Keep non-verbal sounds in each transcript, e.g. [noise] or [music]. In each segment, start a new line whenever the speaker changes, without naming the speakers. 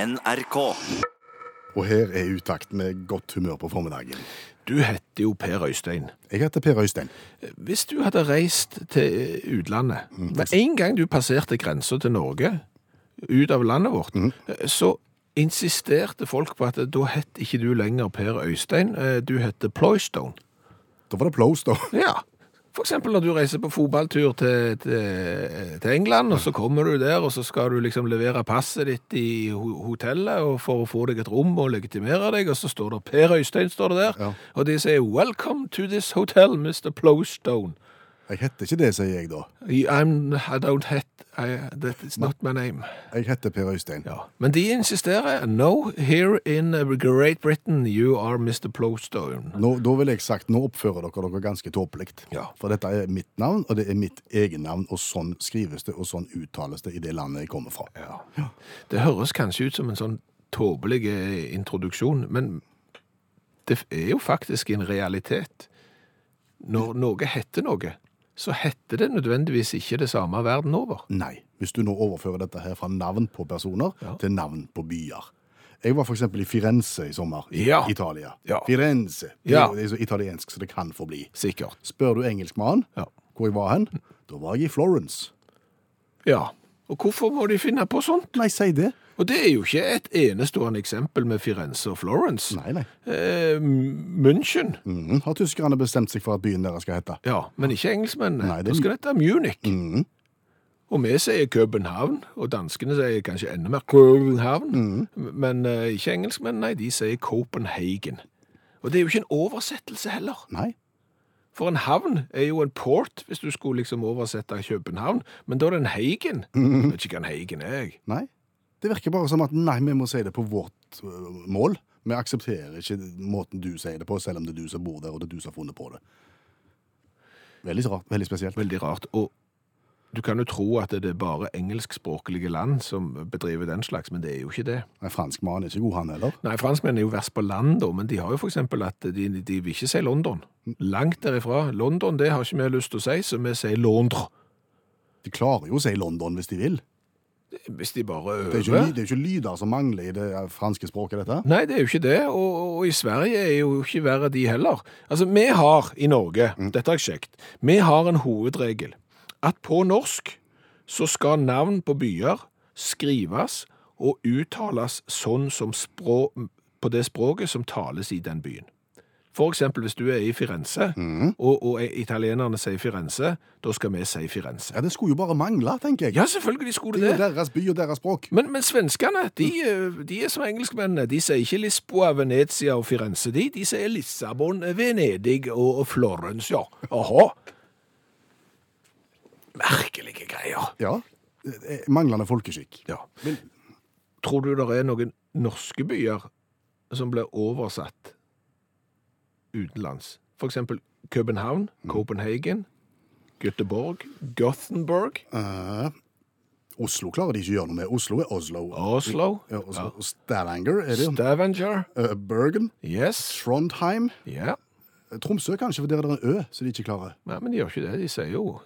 NRK.
Og her er utakt med godt humør på formiddagen.
Du heter jo Per Øystein.
Jeg heter Per Øystein.
Hvis du hadde reist til utlandet, med en gang du passerte grensen til Norge, ut av landet vårt, så insisterte folk på at da het ikke du lenger Per Øystein, eh, du heter Ploystone.
Da var det Plows, da.
Ja, for eksempel når du reiser på fotballtur til, til, til England, og så kommer du der, og så skal du liksom levere passet ditt i ho- hotellet og for å få deg et rom og legitimere deg, og så står det Per Øystein står det der,
Ja.
og de sier 'Welcome to this hotel, Mr. Plowstone'.
Jeg heter ikke det, sier jeg da.
I'm, I don't het, I, that is not my name.
Jeg heter Per Øystein.
Ja. Men de insisterer, no, here in Great Britain you are Mr. Plowstone.
Nå, da vil jeg sagt, nå oppfører dere dere ganske tåpelig.
Ja.
For dette er mitt navn, og det er mitt egennavn, og sånn skrives det, og sånn uttales det i det landet jeg kommer fra.
Ja. Det høres kanskje ut som en sånn tåpelig eh, introduksjon, men det er jo faktisk en realitet. Når noe heter noe, så heter det nødvendigvis ikke det samme verden over.
Nei. Hvis du nå overfører dette her fra navn på personer
Ja.
til navn på byer. Jeg var for eksempel i Firenze i sommer, i
Ja.
Italia.
Ja.
Firenze. Det,
Ja.
det er så italiensk, så det kan forbli.
Sikkert.
Spør du engelskmannen
Ja.
hvor jeg var hen, da var jeg i Florence.
ja. Og hvorfor må de finne på sånt?
Nei, si det.
Og det er jo ikke et enestående eksempel med Firenze og Florence.
Nei, nei.
Eh, München.
Mhm. Har tyskerne bestemt seg for at byen deres skal hete? Mhm.
Ja, men ikke engelskmennene.
Nei, det-
det... Mm. Da skal dette være Munich. Og vi sier København, og danskene sier kanskje enda mer København. Men eh, ikke engelskmennene, nei, de sier Copenhagen. Og det er jo ikke en oversettelse heller.
Nei.
For en havn er jo en port, hvis du skulle liksom oversette København. Men da er det en Hagen. Jeg vet ikke hva en Hagen er, jeg.
Nei. Det virker bare som at nei, vi må si det på vårt øh, mål. Vi aksepterer ikke måten du sier det på, selv om det er du som bor der, og det er du som har funnet på det. Veldig så rart. Veldig spesielt.
Veldig rart. Og du kan jo tro at det er bare engelskspråklige land som bedriver den slags, men det er jo ikke det.
Nei, Franskmannen er ikke god, han heller.
Nei, franskmennene er jo verst på land, da, men de har jo for eksempel at de, de vil ikke si London. Langt derifra. London, det har ikke vi lyst til å si, så vi sier Londre.
De klarer jo å si London hvis de vil.
Hvis de bare
Det er jo ikke,
øver.
ly- det er jo ikke lyder som mangler i det øh, franske språket, dette.
Nei, det er jo ikke det, og, og- og i Sverige er jo ikke verre de heller. Altså, vi har i Norge,
Mm.
dette er kjekt, vi har en hovedregel at på norsk så skal navn på byer skrives og uttales sånn som språ, på det språket som tales i den byen. For eksempel hvis du er i Firenze,
Mm.
og, og italienerne sier Firenze, da skal vi si Firenze.
Ja, Det skulle jo bare mangle, tenker jeg.
Ja, selvfølgelig skulle
Det
det
er jo deres by og deres språk.
men, men svenskene, de, eh, de er som engelskmennene. De sier ikke Lisboa, Venezia og Firenze, de. De sier Lissabon, Venedig og, og Florence, ja. Jaha. Merkelige greier.
Ja. Eh, Manglende folkeskikk.
Ja. Men tror du det er noen norske byer som blir oversatt utenlands? For eksempel København,
Mm.
Copenhagen, Göteborg, Gothenburg,
Eh, Oslo klarer de ikke å gjøre noe med. Oslo er Oslo.
Oslo,
Ja, og så- og Stavanger er det jo.
Stavanger,
Eh, Bergen.
yes,
Trondheim.
ja.
Eh, Tromsø kanskje, for der er det en ø som de ikke klarer.
Nei, men de gjør ikke det. De sier jo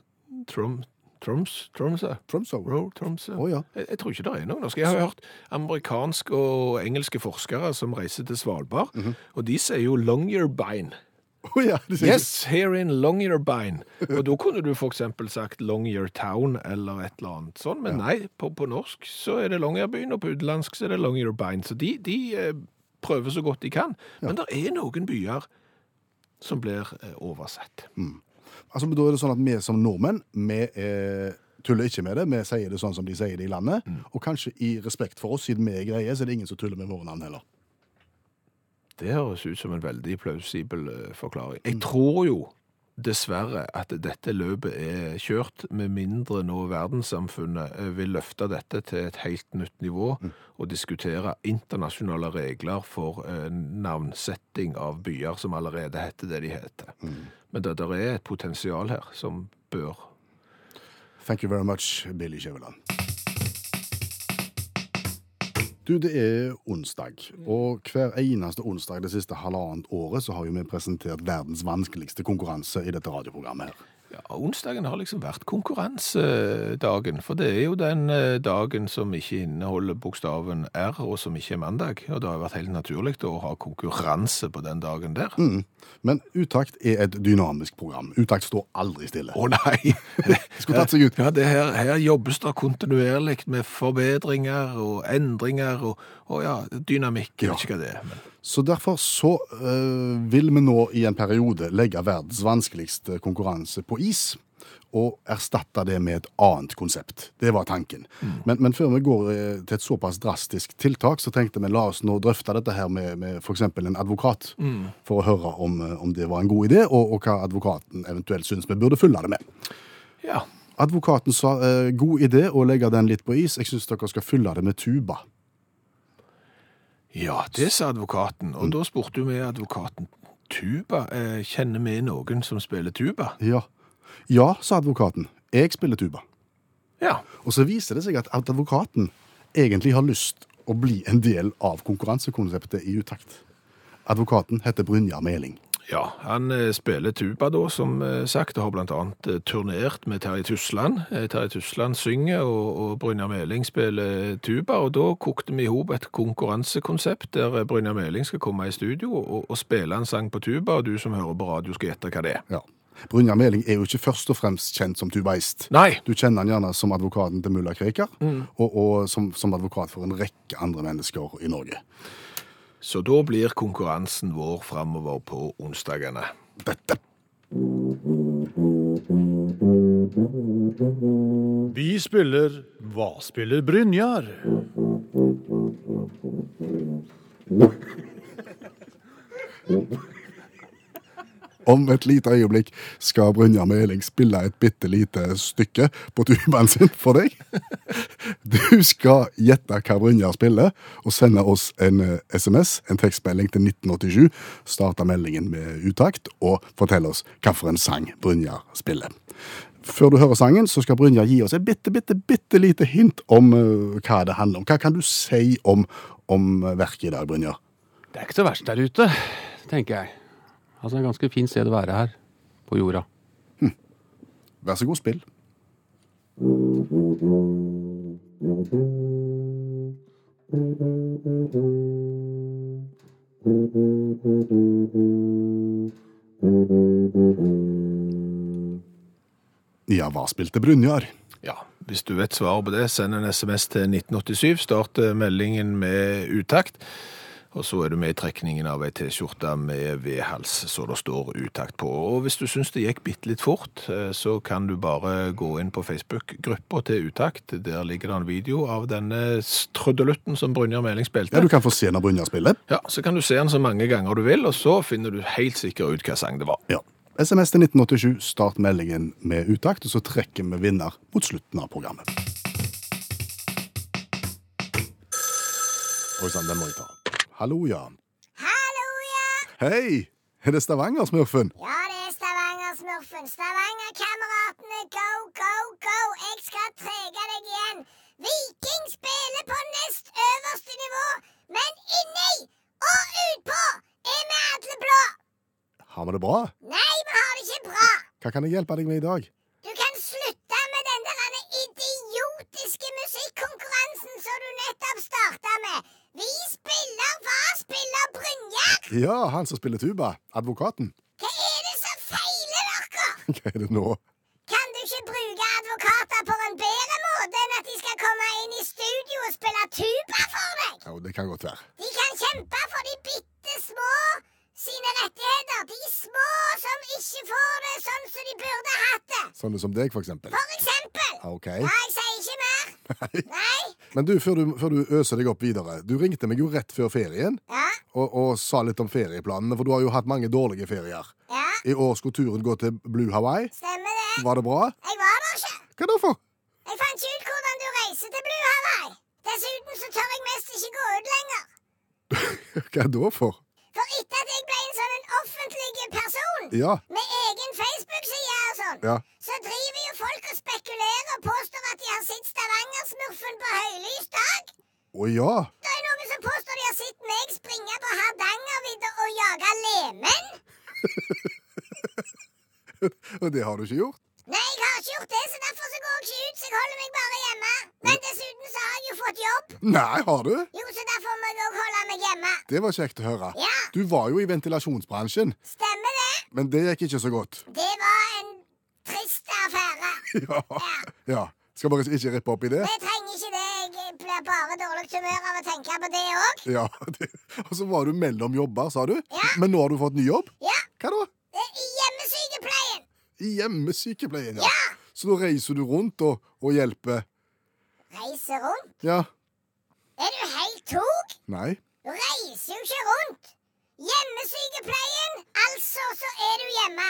Trump, Trumps, Trumpsa,
Tromsø. Å
Roe Trumpsa.
ja.
Jeg, jeg tror ikke det er noe norsk. Jeg har hørt amerikanske og engelske forskere som reiser til Svalbard, og de sier jo Longyearbyen.
Å [laughs] ja. de Mhm. sier ikke-
Yes, here in Longyearbyen. Og da kunne du for eksempel sagt Longyeartown eller et eller annet sånn, men nei, på, på norsk så er det Longyearbyen, og på utenlandsk så er det Longyearbyen. Så de, de eh, prøver så godt de kan. Men det er noen byer som blir eh, oversett.
Altså, men da er det sånn at vi som nordmenn, vi eh, tuller ikke med det. Vi sier det sånn som de sier det i landet. Og kanskje i respekt for oss, siden vi er greie, så er det ingen som tuller med våre navn heller.
Det høres ut som en veldig plausibel eh, forklaring. Jeg tror jo dessverre at dette løpet er kjørt, med mindre nå verdenssamfunnet eh, vil løfte dette til et helt nytt nivå og diskutere internasjonale regler for eh, navnsetting av byer som allerede heter det de heter. Men det der er et potensial her som bør
Thank you very much, Billy Kjøveland. Du, det er onsdag, og hver eneste onsdag det siste halvannet året så har jo vi presentert verdens vanskeligste konkurranse i dette radioprogrammet her.
Ja, onsdagen har liksom vært konkurransedagen, for det er jo den eh, dagen som ikke inneholder bokstaven R, og som ikke er mandag. Og det har vært helt naturlig å ha konkurranse på den dagen der. Å
Men Utakt er et dynamisk program. Utakt står aldri stille.
nei! [laughs]
Skulle tatt seg ut.
Ja, det her, her jobbes det kontinuerlig med forbedringer og endringer og, og ja, dynamikk. Jeg vet ikke hva det er. Men,
Så derfor så eh, vil vi nå i en periode legge verdens vanskeligste konkurranse på is. Og erstatte det med et annet konsept. Det var tanken. Men, men før vi går eh, til et såpass drastisk tiltak, så tenkte vi la oss nå drøfte dette her med, med f.eks. en advokat. For å høre om, eh, om det var en god idé, og, og hva advokaten eventuelt syns vi burde følge det med.
ja.
Advokaten sa eh, god idé å legge den litt på is. Jeg syns dere skal fylle det med tuba.
Ja, det sa advokaten. Og da spurte jo vi advokaten tuba. Eh, kjenner vi noen som spiller tuba?
Ja. ja, sa advokaten. Jeg spiller tuba.
Ja.
Og så viser det seg at at advokaten egentlig har lyst å bli en del av konkurransekonseptet i utakt. Advokaten heter Brynjar Meling.
ja han eh, spiller tuba, da, som eh, sagt, og har blant annet eh, turnert med Terje Tusland. Eh, Terje Tusland synger, og, og Brynjar Meling spiller eh, tuba. Og da kokte vi i hop et konkurransekonsept der eh, Brynjar Meling skal komme i studio og, og spille en sang på tuba, og du som hører på radio, skal gjette hva det er.
Ja. Brynjar Meling er jo ikke først og fremst kjent som tubaist.
Nei!
Du kjenner han gjerne som advokaten til mulla Krekar, og, og som, som advokat for en rekke andre mennesker i Norge.
Så da blir konkurransen vår framover på onsdagene.
Dette
Vi spiller Hva spiller Brynjar?
Om et lite øyeblikk skal Brynjar Meling spille et bitte lite stykke på tubaen sin for deg. Du skal gjette hva Brynjar spiller, og sende oss en eh, SMS, en tekstmelding til 1987. Starte meldingen med utakt, og fortelle oss hvilken sang Brynjar spiller. Før du hører sangen, så skal Brynjar gi oss et bitte, bitte, bitte lite hint om eh, hva det handler om. Hva kan du si om, om verket i dag, Brynjar?
Det er ikke så verst der ute, tenker jeg. Altså, det er et ganske fint sted å være her på jorda.
Vær så god, spill. Ja, hva spilte Brynjar?
Ja, hvis du vet svaret på det, send en sms til 1987, start eh, meldingen med utakt, og så er du med i trekningen av ei T-skjorte med V-hals, så det står utakt på. Og hvis du syns det gikk bitte litt fort, eh, så kan du bare gå inn på Facebook-gruppa til utakt. Der ligger det en video av denne trøddelutten som Brynjar Meling
Ja,
spilte.
du kan få se når Brynjar spiller.
Ja, Så kan du se den så mange ganger du vil, og så finner du helt sikkert ut hva sang det var.
Ja. SMS til 1987, start meldingen med utakt, og så trekker vi vinner mot slutten av programmet. Oi sann, den må jeg ta. Hallo, ja.
Hallo, ja!
Hei! Er det Stavanger-smurfen?
Ja, det er Stavanger-smurfen. Stavanger-kameratene, go, go, go! Jeg skal trege deg igjen. Viking spiller på nest øverste nivå, men inni og utpå er vi alle blå.
Har vi det bra?
Nei, vi har det ikke bra.
Hva kan jeg hjelpe deg med i dag?
Du kan slutte med den der idiotiske musikkonkurransen som du nettopp starta med. Vi spiller Hva spiller Brynjar?
Ja, han som spiller tuba. Advokaten. [laughs]
Hva er det som feiler dere?
Hva er det nå?
Kan du ikke bruke advokater på en bedre måte enn at de skal komme inn i studio og spille tuba for deg?
Jo, det kan godt være.
De kan kjempe for de bitte små sine rettigheter. De små som ikke får det sånn som de burde hatt det.
Sånne Sånn som deg, for eksempel.
For eksempel.
OK.
Ja, jeg sier ikke mer. Nei?
Men du, før du, før du øser deg opp videre, du ringte meg jo rett før ferien
Ja?
og, og sa litt om ferieplanene, for du har jo hatt mange dårlige ferier.
Ja?
I år skulle turen gå til Blue Hawaii.
Stemmer det.
Var det bra?
Jeg var der ikke.
Hva da for? [laughs]
Jeg fant ikke ut hvordan du reiser til Blue Hawaii. Dessuten så tør jeg mest ikke gå ut lenger.
Hva da for?
For etter at jeg ble en sånn en offentlig person
Ja,
Med egen Facebook-side og sånn.
Ja.
Så driver jo folk og spekulerer og påstår at de har sett Stavanger-smurfen på høylys dag.
å ja.
Det er noen som påstår de har sett meg springe på Hardangervidda og jage lemen.
Og det har du ikke gjort.
Nei, jeg har ikke gjort det, så derfor så går jeg ikke ut, så jeg holder meg bare hjemme. Men dessuten så har jeg jo fått jobb.
Nei, har du?
Jo, så derfor må jeg òg holde meg hjemme.
Det var kjekt å høre.
Ja.
Du var jo i ventilasjonsbransjen,
Stemmer det?
men det gikk ikke så godt. [laughs]
Det var en trist affære.
Ja. ja. Skal bare ikke rippe opp i det.
Jeg trenger ikke det. Jeg blir bare dårlig humør av å tenke på det òg.
Ja, [laughs] det. Og så var du mellom jobber, sa du.
Ja.
Men nå har du fått ny jobb.
Ja,
Hva da?
det er i hjemmesykepleien.
I hjemmesykepleien, ja.
Ja.
Så da reiser du rundt og, og hjelper.
Reise rundt?
Ja.
Er du helt tok?
Nei.
Du reiser jo ikke rundt. Hjemmesykepleien, altså så er du hjemme.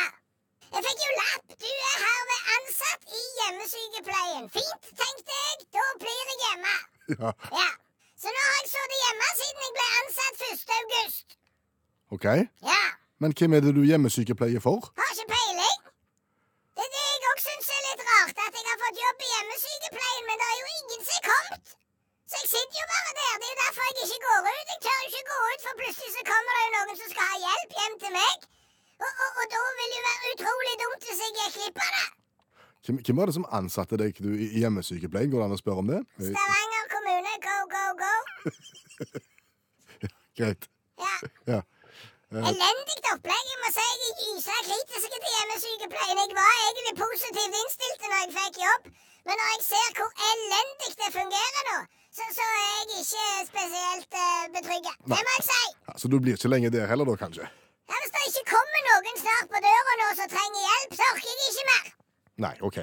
Jeg fikk jo lapp. Du er herved ansatt i hjemmesykepleien. Fint, tenkte jeg. Da blir jeg hjemme.
Ja.
Ja. Så nå har jeg sittet hjemme siden jeg ble ansatt 1. august.
OK.
Ja.
Men hvem er det du hjemmesykepleier for?
Har ikke peiling. Det er det jeg òg syns er litt rart, at jeg har fått jobb i hjemmesykepleien, men det er jo ingen som er kommet. Så jeg sitter jo bare der. Det er jo derfor jeg ikke går ut. Jeg tør jo ikke gå ut, for plutselig så kommer det jo noen som skal ha hjelp hjem til meg. Og, og, og da vil det jo være utrolig dumt hvis jeg gikk glipp av det.
Hvem, hvem var det som ansatte deg du, i i hjemmesykepleien? Går det an å spørre om det? Eh,
Stavanger kommune, go, go, go.
Greit.
Ja.
Ja.
Elendig opplegg. Jeg må si jeg er gysa kritisk til hjemmesykepleien. Jeg var egentlig positivt innstilt når jeg fikk jobb, men når jeg ser hvor elendig det fungerer nå, så, så er jeg ikke spesielt eh, betrygget. Det må jeg si.
Ja, så du blir ikke lenge der heller, da, kanskje?
Ja, hvis det ikke kommer noen snart på døra nå som trenger hjelp, så orker jeg ikke mer.
Nei, OK.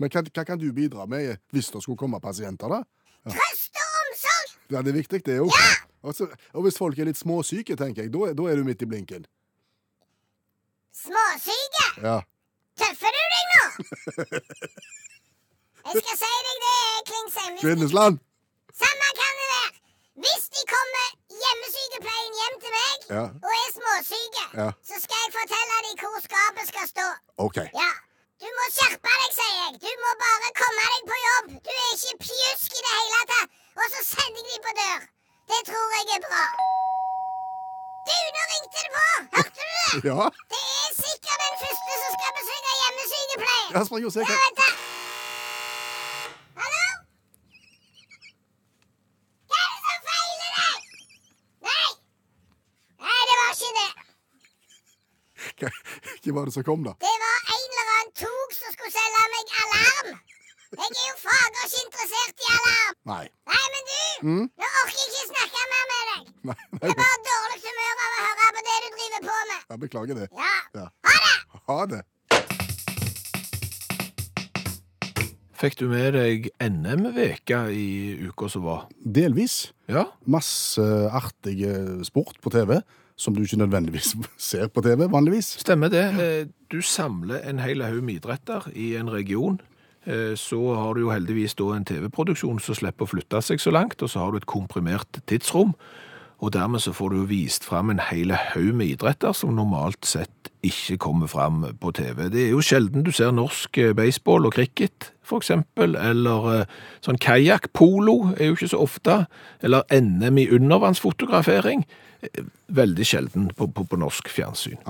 Men hva, hva kan du bidra med eh, hvis det skulle komme pasienter, da?
Trøst og omsorg!
Ja, Det er viktig, det jo. Og så- og hvis folk er litt småsyke, tenker jeg, da er- da er du midt i blinken.
Småsyke!
Ja.
Tøffer du deg nå? Jeg skal si deg det, Klingsheim. hvis du-
Kvinnesland!
Samme kan det være. Hvis de kommer hjemmesykepleien hjem til meg
Ja.
og er småsyke,
Ja.
så skal jeg fortelle dem hvor skapet skal stå.
OK.
Ja. Du må skjerpe deg, sier jeg. Du må bare komme deg på jobb. Du er ikke pjusk i det hele tatt. Og så sender jeg dem på dør. Det tror jeg er bra. Du, nå ringte det på! Hørte du det?
Ja,
Det er sikkert den første som skal besøke hjemmesykepleien.
jeg springer og ser
Ja,
hva
vent da. Hallo? Hva er det som feiler deg? Nei. Nei, det var ikke det.
hva- Hvem var det som kom, da?
Det var en eller annen tog som skulle selge meg alarm. Jeg er jo fager ikke interessert i alarm.
Nei.
Nei, men du, nå orker jeg ikke snakke mer med deg.
Nei,
Det
nei.
er bare dårlig humør av å høre på det du driver på med.
Jeg beklager det.
Ja.
Ja.
Ha det!
Ha det.
Fikk du med deg NM-veka i uka som var?
Delvis.
Ja.
Masse artige sport på TV som du ikke nødvendigvis [laughs] ser på TV vanligvis.
Stemmer det. Eh, Du samler en hel haug med idretter i en region. Eh, Så har du jo heldigvis da en TV-produksjon som slipper å flytte seg så langt, og så har du et komprimert tidsrom. Og dermed så får du jo vist fram en hel haug med idretter som normalt sett ikke kommer fram på TV. Det er jo sjelden du ser norsk eh, baseball og cricket, for eksempel, eller eh, sånn kajakk. Polo er jo ikke så ofte. Eller NM i undervannsfotografering. Eh, Veldig sjelden på, på, på norsk fjernsyn.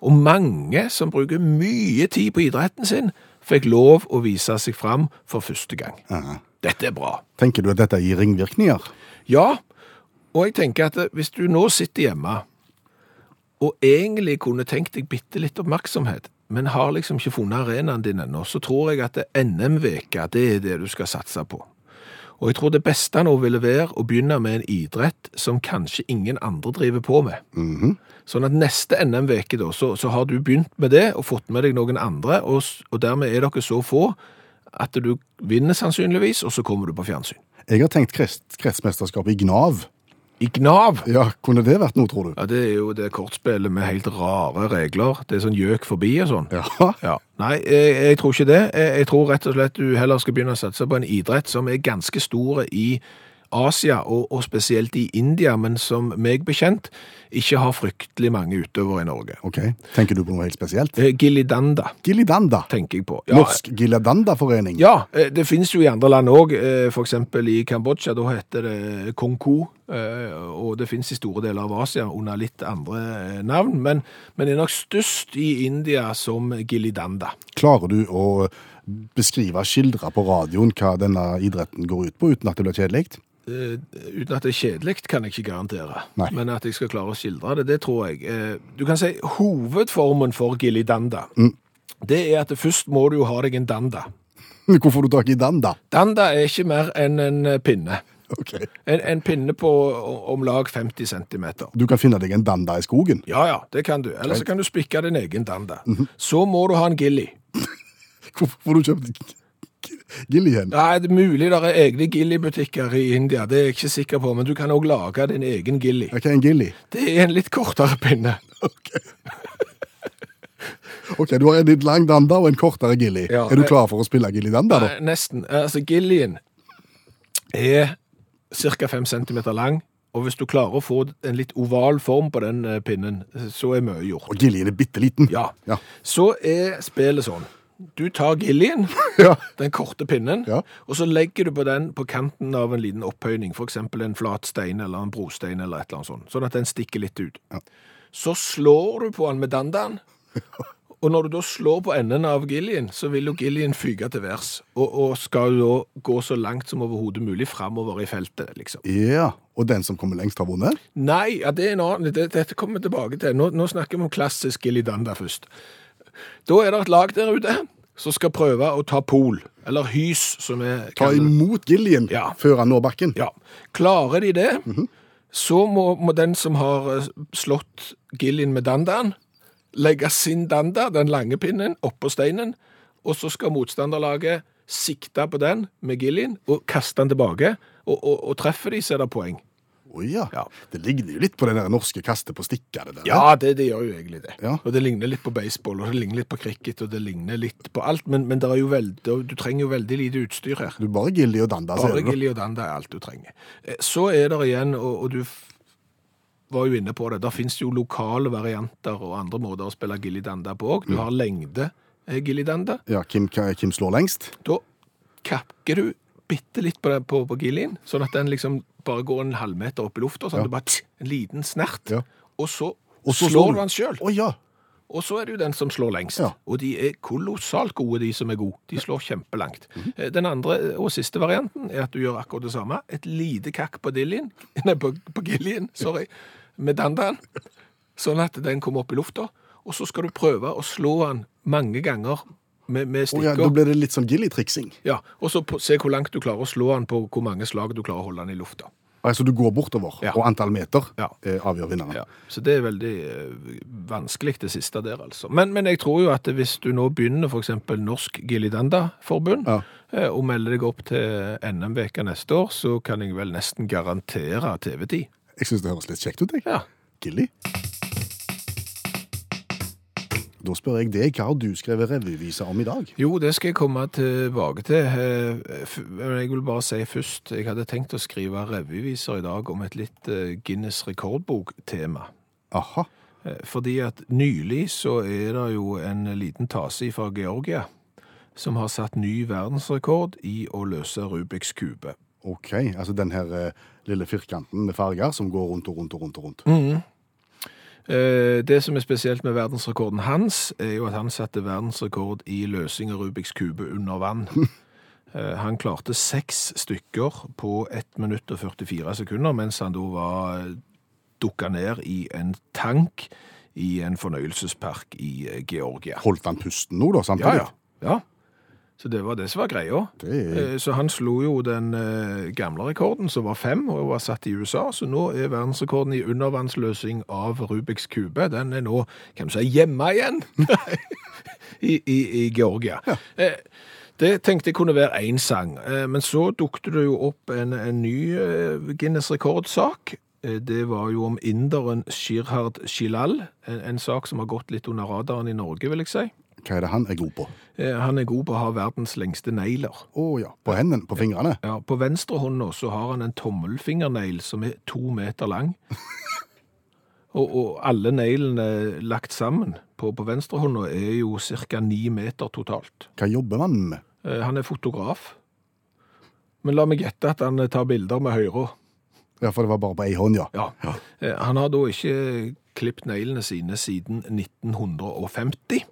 Og mange som bruker mye tid på idretten sin, fikk lov å vise seg fram for første gang. Dette er bra.
Tenker du at dette gir ringvirkninger?
Ja, og jeg tenker at eh, hvis du nå sitter hjemme og egentlig kunne tenkt deg bitte litt oppmerksomhet, men har liksom ikke funnet arenaen din ennå, så tror jeg at det NM-veka, det er det du skal satse på. Og jeg tror det beste nå ville være å begynne med en idrett som kanskje ingen andre driver på med. Sånn at neste NM-veke da, så, så har du begynt med det og fått med deg noen andre, og, s- og dermed er dere så få at du vinner sannsynligvis, og så kommer du på fjernsyn.
Jeg har tenkt krets, kretsmesterskap i Gnav.
I Gnav!
Ja, Kunne det vært noe, tror du?
Ja, det er jo det kortspillet med helt rare regler. Det er sånn gjøk forbi og sånn.
Ja.
Ja. Nei, jeg, jeg tror ikke det. Jeg, jeg tror rett og slett du heller skal begynne å satse på en idrett som er ganske store i Asia, og, og spesielt i India, men som meg bekjent ikke har fryktelig mange utøvere i Norge.
Ok, Tenker du på noe helt spesielt?
Eh, Gilidanda
Gilidanda.
tenker jeg på.
Norsk Gilidanda-forening.
eh, Ja, eh, det finnes jo i andre land òg. For eksempel i Kambodsja, da heter det konko. eh, og det finnes i store deler av Asia under litt andre eh, navn, men, men er nok størst i India som gilidanda.
Klarer du å beskrive, skildre på radioen hva denne idretten går ut på, uten at det blir kjedelig? [laughs]
Eh, uten at det er kjedelig, kan jeg ikke garantere.
Nei.
Men at jeg skal klare å skildre det, det tror jeg. Eh, du kan si hovedformen for gilidanda, det er at først må du jo ha deg en danda.
Hvor får du tak i den, da?
Danda er ikke mer enn en eh, pinne.
Ok.
En, en pinne på o- om lag 50 centimeter.
Du kan finne deg en danda i skogen. [laughs]
Ja, ja, det kan du. Eller så kan du spikke din egen danda. Så må du ha en gilli.
Hvorfor får du kjøpt gilli hen?
Nei, det er mulig det er egne gillibutikker i India, det er jeg ikke sikker på, men du kan òg lage din egen gilli.
Ok, en [laughs] gilli.
Det er en litt kortere pinne.
[laughs] Ok, du har en litt lang danda og en kortere gilli.
Ja,
er du
jeg-
klar for å spille gilli-danda, da?
Nei, Nesten. Altså, gillien er ca. 5 cm lang, og hvis du klarer å få en litt oval form på den eh, pinnen, så er mye gjort.
Og gillien er bitte liten.
Ja.
Ja.
Så er spillet sånn. Du tar gillien,
[laughs] Ja.
den korte pinnen,
Ja.
og så legger du på den på kanten av en liten opphøyning, for eksempel en flat stein eller en brostein eller et eller annet sånt, sånn at den stikker litt ut. Så slår du på den
[laughs]
med dandan, og når du da slår på enden av gillien, så vil jo gillien fyge til værs, og, og skal jo da gå så langt som overhodet mulig fremover i feltet, liksom.
Ja, og den som kommer lengst har vunnet?
Nei, ja, det er en annen. det- Dette kommer vi tilbake til. Nå, nå snakker vi om klassisk Gillidanda først. Da er det et lag der ute som skal prøve å ta pol, eller hys, som er
Ta imot gillien
Ja.
før han når bakken.
Ja. Klarer de det, så må, må den som har eh, slått Gillien med dandaen, legge sin danda, den lange pinnen, oppå steinen, og så skal motstanderlaget sikte på den med Gillien og kaste den tilbake. Og, og, og treffer de, så er det poeng.
Å ja.
Ja.
Det ligner jo litt på den der norske kastet på stikka. Det der.
Ja, det, det gjør jo egentlig det.
Ja.
Og det ligner litt på baseball, og det ligner litt på cricket, og det ligner litt på alt, men, men det er jo veld, det- du trenger jo veldig lite utstyr her.
Du bare gilli og danda,
Bare
ser du.
gilli og danda er alt du trenger. Eh, Så er det igjen, og, og du f- var jo inne på det, der finnes jo lokale varianter og andre måter å spille gilli-danda på òg. Du
Mm.
har lengde eh, gilli-danda.
Ja, Kim, Kim slår lengst.
Da kakker du bitte litt på, den- på, på gillien, sånn at den liksom bare går en halvmeter opp i lufta, sånn at du bare tsk, en liten snert,
Ja.
og så
Og så
slår,
slår du.
du den sjøl.
Å ja.
Og så er det jo den som slår lengst.
Ja.
Og de er kolossalt gode, de som er gode. De slår kjempelangt. Eh, Den andre og siste varianten er at du gjør akkurat det samme. Et lite kakk på dillien, [laughs] nei, på, på gillien, sorry, med dandaen, sånn at den kommer opp i lufta. Og så skal du prøve å slå den mange ganger med, med
Å
stikker.
ja. Da blir det litt sånn gillitriksing.
Ja, og så på, se hvor langt du klarer å slå den på hvor mange slag du klarer å holde den i lufta.
Altså du går bortover,
Ja.
og antall meter
Ja.
eh, avgjør vinneren.
Så det er veldig eh, vanskelig det siste der, altså. Men, men jeg tror jo at hvis du nå begynner f.eks. Norsk Gilidanda-forbund,
Ja.
eh, og melder deg opp til NM-veka neste år, så kan jeg vel nesten garantere TV-tid.
Jeg syns det høres litt kjekt ut, jeg.
Ja.
Gilli. Da spør jeg deg, hva har du skrevet revyvise om i dag?
Jo, det skal jeg komme tilbake til. Eh, f- Men jeg vil bare si først Jeg hadde tenkt å skrive revyviser i dag om et litt eh, Guinness rekordbok-tema.
Aha.
Eh, Fordi at nylig så er det jo en liten tase fra Georgia som har satt ny verdensrekord i å løse Rubiks kube.
Ok, altså den her eh, lille firkanten med farger som går rundt og rundt og rundt og rundt.
Mm. Eh, Det som er spesielt med verdensrekorden hans, er jo at han satte verdensrekord i løsing av Rubiks kube under vann. Eh, Han klarte seks stykker på 1 minutt og 44 sekunder, mens han da var dukka ned i en tank i en fornøyelsespark i eh, Georgia.
Holdt han pusten nå, da,
Ja,
samtidig?
ja. ja. Så det var det som var greia.
Det
Eh, Så han slo jo den eh, gamle rekorden, som var fem, og var satt i USA. Så nå er verdensrekorden i undervannsløsing av Rubiks kube, den er nå, kan du si, hjemme igjen [laughs] i, i, i Georgia. Eh, Det tenkte jeg kunne være én sang, Eh, men så dukte det jo opp en, en ny eh, Guinness rekordsak. Eh, Det var jo om inderen Shirhard Shilal, en, en sak som har gått litt under radaren i Norge, vil jeg si.
Hva er det han er god på? Å
Eh, Han er god på å ha verdens lengste negler.
ja, på hendene, på fingrene.
Ja, på venstre hånda så har han en tommelfingernegl som er to meter lang. [laughs] Og, og alle neglene lagt sammen på, på venstre hånda er jo ca. ni meter totalt.
Hva jobber man med?
Eh, Han er fotograf. Men la meg gjette at han tar bilder med høyre.
Ja, for det var bare på ei hånd, ja.
Ja. Eh, Han har da ikke klippet neglene sine siden 1950.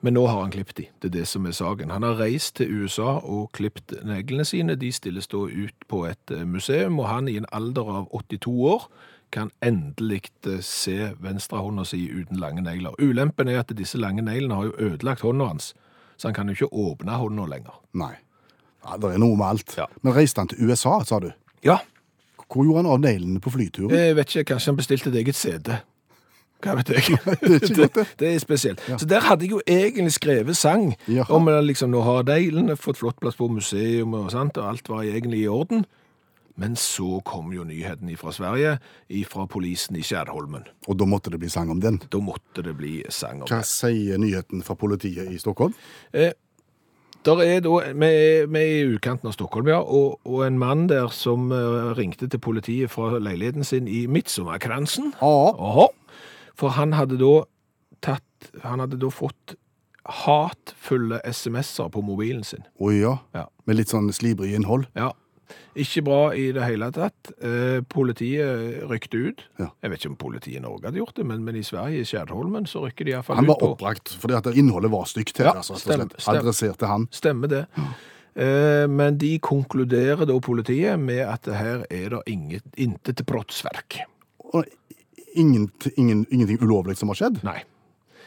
Men nå har han klippet de. Det er det som er saken. Han har reist til USA og klippet neglene sine. De stilles da ut på et eh, museum, og han i en alder av 82 år kan endelig eh, se venstrehånda si uten lange negler. Ulempen er at disse lange neglene har jo ødelagt hånda hans, så han kan jo ikke åpne hånda lenger.
Nei. Ja, Det er noe med alt.
Ja.
Men reiste han til USA, sa du?
Ja,
Hvor gjorde han av neglene på flyturen?
Jeg vet ikke, kanskje han bestilte et eget CD. Hva vet
[laughs] det
jeg?
er ikke godt, det.
det er spesielt. Så der hadde jeg jo egentlig skrevet sang
Jaha.
om eh, liksom, nå har Deilen fått flott plass på museum og sånt, og alt var egentlig i orden. Men så kom jo nyheten fra Sverige, fra polisen i Kjærholmen.
Og da måtte det bli sang om den.
Da måtte det bli sang om
Hva sier nyheten fra politiet i Stockholm?
Der er da, vi er- vi er i utkanten av Stockholm, ja, og, og en mann der som eh, ringte til politiet fra leiligheten sin i Midtsommerkransen.
Ja.
Aha. For han hadde da tatt Han hadde da fått hatfulle SMS-er på mobilen sin.
Å ja.
Ja.
Med litt sånn slibrig innhold.
Ja. Ikke bra i det hele tatt. Eh, politiet rykte ut.
Ja.
Jeg vet ikke om politiet i Norge hadde gjort det, men, men i Sverige, i Skjærholmen, så rykker de iallfall
Han
ut
var
på
oppbrakt fordi at innholdet var stygt. her,
Ja,
altså, rett og
stem-
slett.
stem.
Adresserte han.
Stemmer det. Eh, men de konkluderer da politiet med at det her er det inget, intet brottsverk.
Og ingen, ingen, ingenting ulovlig som har skjedd?
Nei.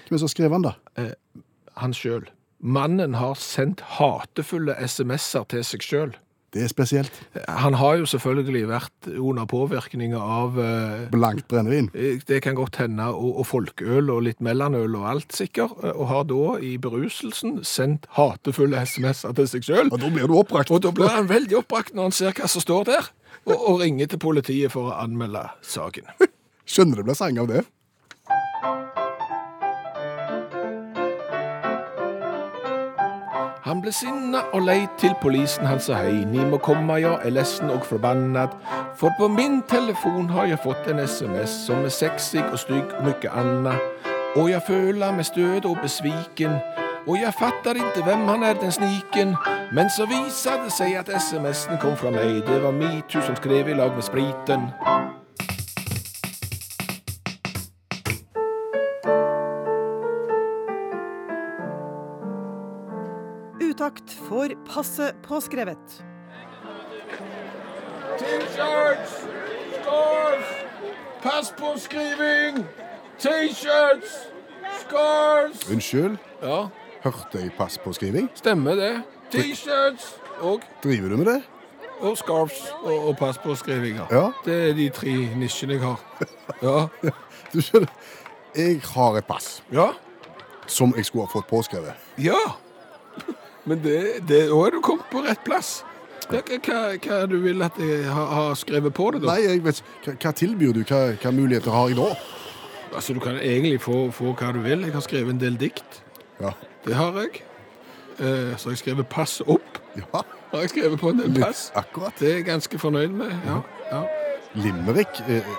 Men så skrev han, da.
Han sjøl. Mannen har sendt hatefulle SMS-er til seg sjøl.
Det er spesielt.
Han har jo selvfølgelig vært under påvirkning av eh,
Blankt brennevin.
det kan godt hende, og, og folkeøl og litt mellomøl og alt sikkert, eh, og har da i beruselsen sendt hatefulle SMS-er til seg sjøl.
Og da blir du oppbrakt.
Og da blir han veldig oppbrakt når han ser hva som står der, og, og ringer til politiet for å anmelde saken.
Skjønner det blir sang av det.
Han ble sinna og lei til polisen. Han sa hei, ni må komme, jeg er lessen og forbannad. For på min telefon har jeg fått en SMS som er sexy og stygg og mye anna. Og jeg føler meg støt og besviken. Og jeg fatter ikke hvem han er, den sniken. Men så viser det seg at SMS-en kom fra meg. Det var metoo som skrev i lag med spriten.
Utakt får passe påskrevet.
T-shirts! Scarf! Pass på skriving! T-shirts! Scarf!
Unnskyld,
Ja,
hørte jeg pass på skriving?
stemmer det. T-shirts og,
Driver du med det?
og scarves og, og passpåskrivinger.
Ja.
Det er de tre nisjene jeg har. Ja.
Du skjønner, jeg har et pass
Ja.
som jeg skulle ha fått påskrevet.
ja. Men det, det, da er du kommet på rett plass. Hva, hva, hva du vil at jeg har har skrevet på det, da?
Nei, jeg vet ikke. Hva- Hva tilbyr du? Hva, hva muligheter har jeg da?
Altså, Du kan egentlig få, få hva du vil. Jeg har skrevet en del dikt.
Ja.
Det har jeg. Eh, så har jeg skrevet 'pass opp'.
ja.
Har jeg skrevet på en del
Litt
pass.
akkurat.
Det er jeg ganske fornøyd med. ja. ja.
Limerick? eh, [laughs]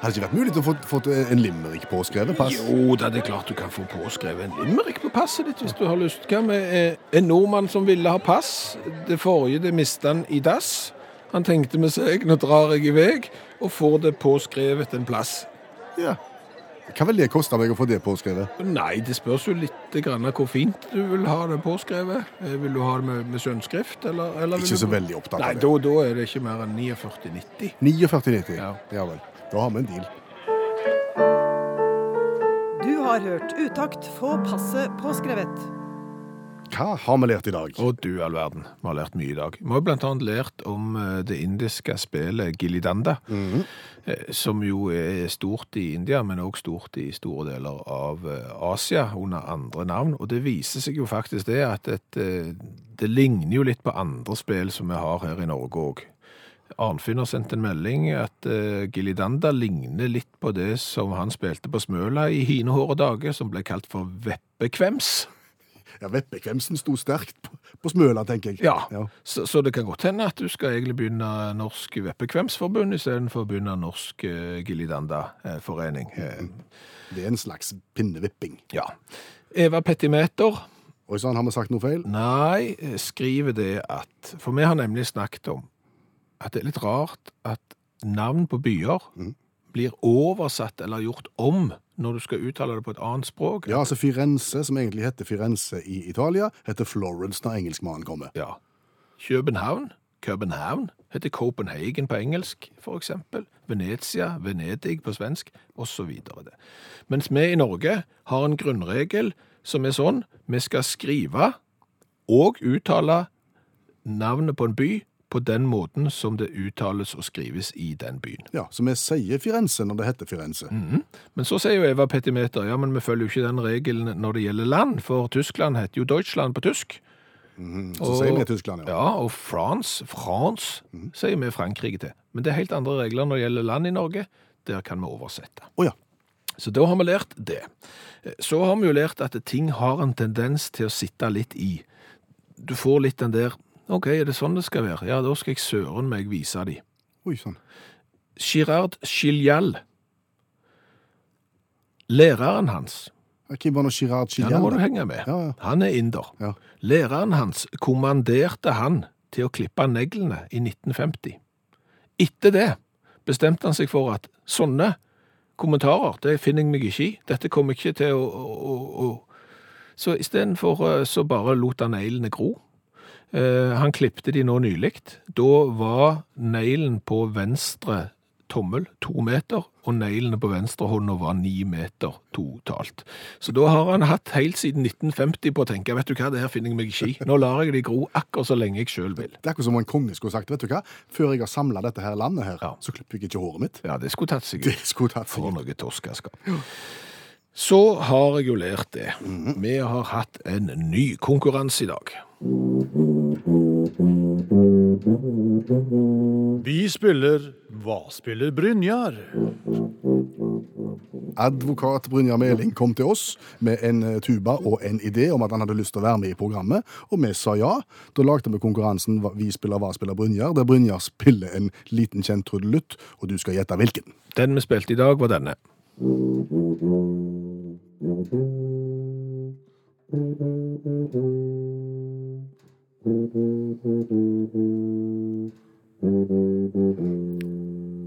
Hadde det ikke vært mulig til å få fått eh, en limerick påskrevet pass?
Jo, da, det er klart du kan få påskrevet en limerick på passet ditt hvis du har lyst. Hva med eh, en nordmann som ville ha pass? Det forrige det mista han i dass. Han tenkte med seg nå drar jeg i vei og får det påskrevet en plass.
Ja. Hva vil det koste meg å få det påskrevet?
Nei, det spørs jo litt grann hvor fint du vil ha det påskrevet. Eh, Vil du ha det med, med skjønnskrift, eller, eller vil
Ikke
du-
så veldig opptatt
Nei,
av det.
da, da er det ikke mer enn 49,90.
49,90.
Ja.
ja vel. Da har vi en deal.
Du har hørt Utakt få passet påskrevet.
Hva har vi lært i dag?
Og du all verden, vi har lært mye i dag. Vi har blant annet lært om eh, det indiske spillet Gilidanda, eh, som jo er stort i India, men også stort i store deler av eh, Asia under andre navn. Og det viser seg jo faktisk det at et, eh, det ligner jo litt på andre spill som vi har her i Norge òg. Arnfinn har sendt en melding at eh, Gilidanda ligner litt på det som han spilte på Smøla i hinehåre dager, som ble kalt for veppekvems.
Ja, Veppekvemsen sto sterkt på, på Smøla, tenker jeg.
Ja, Så, så det kan godt hende at du skal egentlig begynne Norsk Veppekvemsforbund istedenfor å begynne Norsk eh, Gillidandaforening. Eh,
Det er en slags pinnevipping.
ja. Eva Petimeter
Oi sånn, sann, har vi sagt noe feil?
Nei, eh, skriver det at For vi har nemlig snakket om at det er litt rart at navn på byer
Mhm.
blir oversatt eller gjort om når du skal uttale det på et annet språk.
Ja, altså Firenze, som egentlig heter Firenze i Italia, heter Florence når engelskmannen kommer.
Ja. København, København, heter Copenhagen på engelsk, for eksempel. Venezia, Venedig på svensk, og så videre. det. Mens vi i Norge har en grunnregel som er sånn, vi skal skrive og uttale navnet på en by på den måten som det uttales og skrives i den byen.
Ja, Så vi sier Firenze når det heter Firenze.
Mm. Men så sier jo Eva Petimeter, ja, men vi følger jo ikke den regelen når det gjelder land, for Tyskland heter jo Deutschland på tysk.
Så sier vi i Tyskland, ja.
Ja, og France, France,
Mm.
sier vi Frankrike til. Men det er helt andre regler når det gjelder land i Norge. Der kan vi oversette.
Å ja.
Så da har vi lært det. Eh, Så har vi jo lært at ting har en tendens til å sitte litt i. Du får litt den der OK, er det sånn det skal være? Ja, da skal jeg søren meg vise de.
Oi sånn. sann.
Girard Chilial. Læreren hans
Hvem var nå Girard
ja, nå må
Chilian?
du
da?
henge med.
Ja, ja.
Han er inder.
Ja.
Læreren hans kommanderte han til å klippe neglene i 1950. Etter det bestemte han seg for at sånne kommentarer, det finner jeg meg ikke i. Dette kommer ikke til å, å, å, å. Så istedenfor eh, så bare lot han neglene gro. Eh, han klipte de nå nylig. Da var neglen på venstre tommel to meter, og neglene på venstre hånda var ni meter totalt. Så da har han hatt helt siden 1950 på å tenke vet du hva, det her finner jeg meg ikke i. Nå lar jeg de gro akkurat så lenge jeg sjøl vil.
Det er akkurat som om en konge skulle sagt vet du hva, før jeg har samla dette her landet, her,
Ja.
så klipper jeg ikke håret mitt. [laughs]
Ja, det skulle tatt seg
Det
ut.
skulle tatt seg
For
ut.
noe torskeskap. Så har jeg jo lært det. Vi har hatt en ny konkurranse i dag.
Vi spiller Hva spiller Brynjar?
Advokat Brynjar Meling kom til oss med en eh, tuba og en idé om at han hadde lyst til å være med i programmet, og vi sa ja. Da lagde vi konkurransen Hva- Vi spiller hva spiller Brynjar, der Brynjar spiller en liten kjent trudelutt, og du skal gjette hvilken.
Den vi spilte i dag, var denne.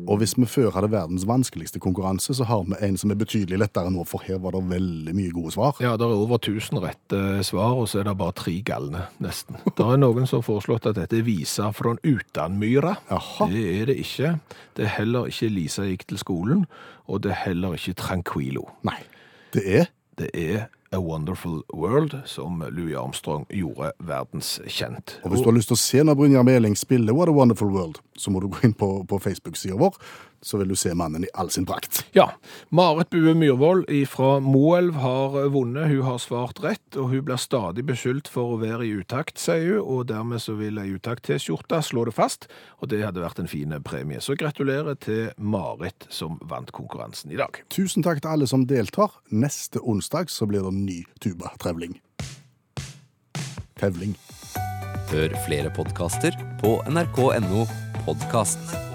Og hvis vi før hadde verdens vanskeligste konkurranse, så har vi en som er betydelig lettere nå, for her var det veldig mye gode svar.
Ja, det er over 1000 rette svar, og så er det bare tre galne, nesten. Det er noen som har foreslått at dette er Visa fra Utanmyra.
Jaha.
Det er det ikke. Det er heller ikke Lisa gikk til skolen, og det er heller ikke Tranquilo.
Nei. Det er
Det er A Wonderful World, som Louis Armstrong gjorde verdenskjent.
Og hvis du har lyst til å se når Brynjar Meling spiller What a Wonderful World, så må du gå inn på, på Facebook-sida vår, så vil du se mannen i all sin prakt.
Ja. Marit Bue Myhrvold fra Moelv har vunnet. Hun har svart rett, og hun blir stadig beskyldt for å være i utakt, sier hun. Og dermed så vil ei utakt-T-skjorte slå det fast, og det hadde vært en fin premie. Så gratulerer til Marit som vant konkurransen i dag.
Tusen takk til alle som deltar. Neste onsdag så blir det en ny tubatrevling. Tevling.
Hør flere podkaster på nrk.no podkast.